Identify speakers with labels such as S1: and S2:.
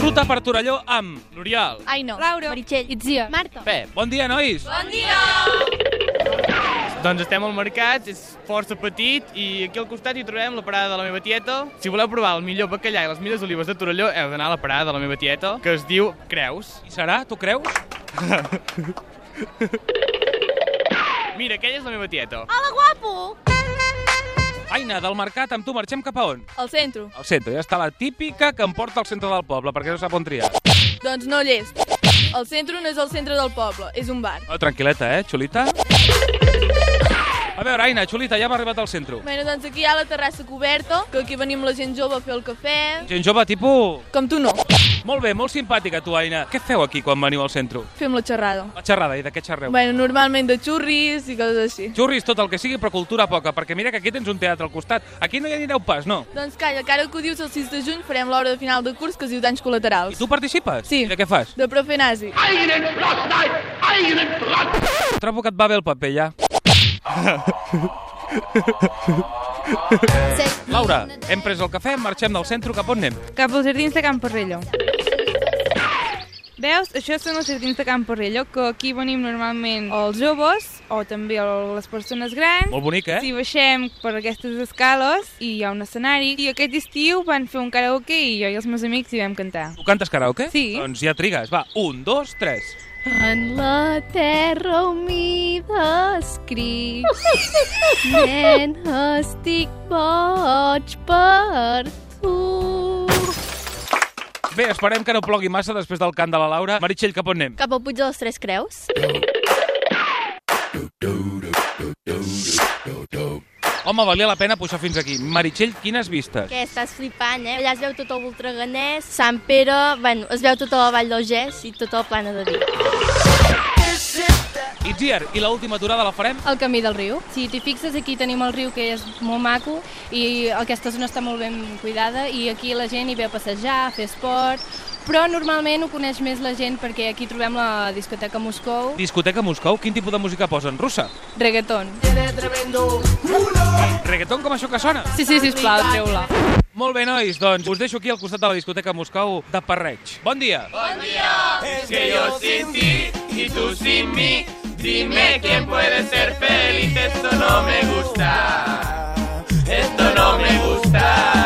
S1: Ruta per Torelló amb l'Oriol.
S2: Ai, no.
S3: Lauro.
S2: Meritxell. Itzia.
S3: Marta.
S1: Pep, bon dia, nois!
S3: Bon dia!
S4: Doncs estem al mercat, és força petit i aquí al costat hi trobem la parada de la meva tieta. Si voleu provar el millor bacallà i les millors olives de Torelló, heu d'anar a la parada de la meva tieta, que es diu Creus.
S1: I serà? Tu creus?
S4: Mira, aquella és la meva tieta.
S3: Hola, guapo!
S1: Aina, del mercat amb tu marxem cap a on?
S2: Al centre.
S1: Al centre, ja està la típica que em porta al centre del poble, perquè no sap on triar.
S2: Doncs no llest. El centre no és el centre del poble, és un bar.
S1: Oh, tranquil·leta, eh, Xulita? A veure, Aina, Xulita, ja hem arribat al centre.
S2: Bueno, doncs aquí hi ha la terrassa coberta, que aquí venim la gent jove a fer el cafè...
S1: Gent jove, tipus...
S2: Com tu no.
S1: Molt bé, molt simpàtica tu, Aina. Què feu aquí quan veniu al centre?
S2: Fem la xerrada.
S1: La xerrada, i de què xerreu?
S2: Bueno, normalment de xurris i coses així.
S1: Xurris, tot el que sigui, però cultura poca, perquè mira que aquí tens un teatre al costat. Aquí no hi anireu pas, no?
S2: Doncs calla, que ara que ho dius, el 6 de juny farem l'hora de final de curs que es diu danys
S1: I
S2: col·laterals.
S1: tu participes?
S2: Sí.
S1: I de què fas?
S2: De profe nazi.
S1: Trobo que et va bé el paper, ja. Laura, hem pres el cafè, marxem del centre, cap on anem?
S5: Cap als jardins de Can Porrello. Veus? Això són els jardins de Can Porrello, que aquí venim normalment els joves o també les persones grans.
S1: Molt bonic, eh?
S5: Si baixem per aquestes escales i hi ha un escenari i aquest estiu van fer un karaoke i jo i els meus amics hi vam cantar.
S1: Tu cantes karaoke?
S5: Sí.
S1: Doncs ja trigues. Va, un, dos, tres.
S3: En la terra humida escric Nen, estic boig per tu
S1: Bé, esperem que no plogui massa després del cant de la Laura. Meritxell, cap on anem?
S3: Cap al Puig de les Tres Creus?
S1: Home, valia la pena pujar fins aquí. Meritxell, quines vistes?
S3: Que estàs flipant, eh? Allà es veu tot el Voltreganès, Sant Pere... Bueno, es veu tota la Vall d'Ogès i tota la plana de Vic.
S1: Itziar, i l'última aturada la farem?
S6: el camí del riu. Si t'hi fixes, aquí tenim el riu que és molt maco i aquesta zona està molt ben cuidada i aquí la gent hi ve a passejar, a fer esport, però normalment ho coneix més la gent perquè aquí trobem la discoteca Moscou,
S1: Discoteca Moscou, quin tipus de música posen? Russa?
S6: reggaeton.
S1: Reggaeton com això que sona?
S6: Sí, sí, sisplau, treu-la.
S1: Molt bé, nois, doncs us deixo aquí al costat de la discoteca Moscou de Parreig. Bon dia!
S4: Es que yo sin ti y tú sin mí, dime quién puede ser feliz, esto no me gusta. Esto no me gusta.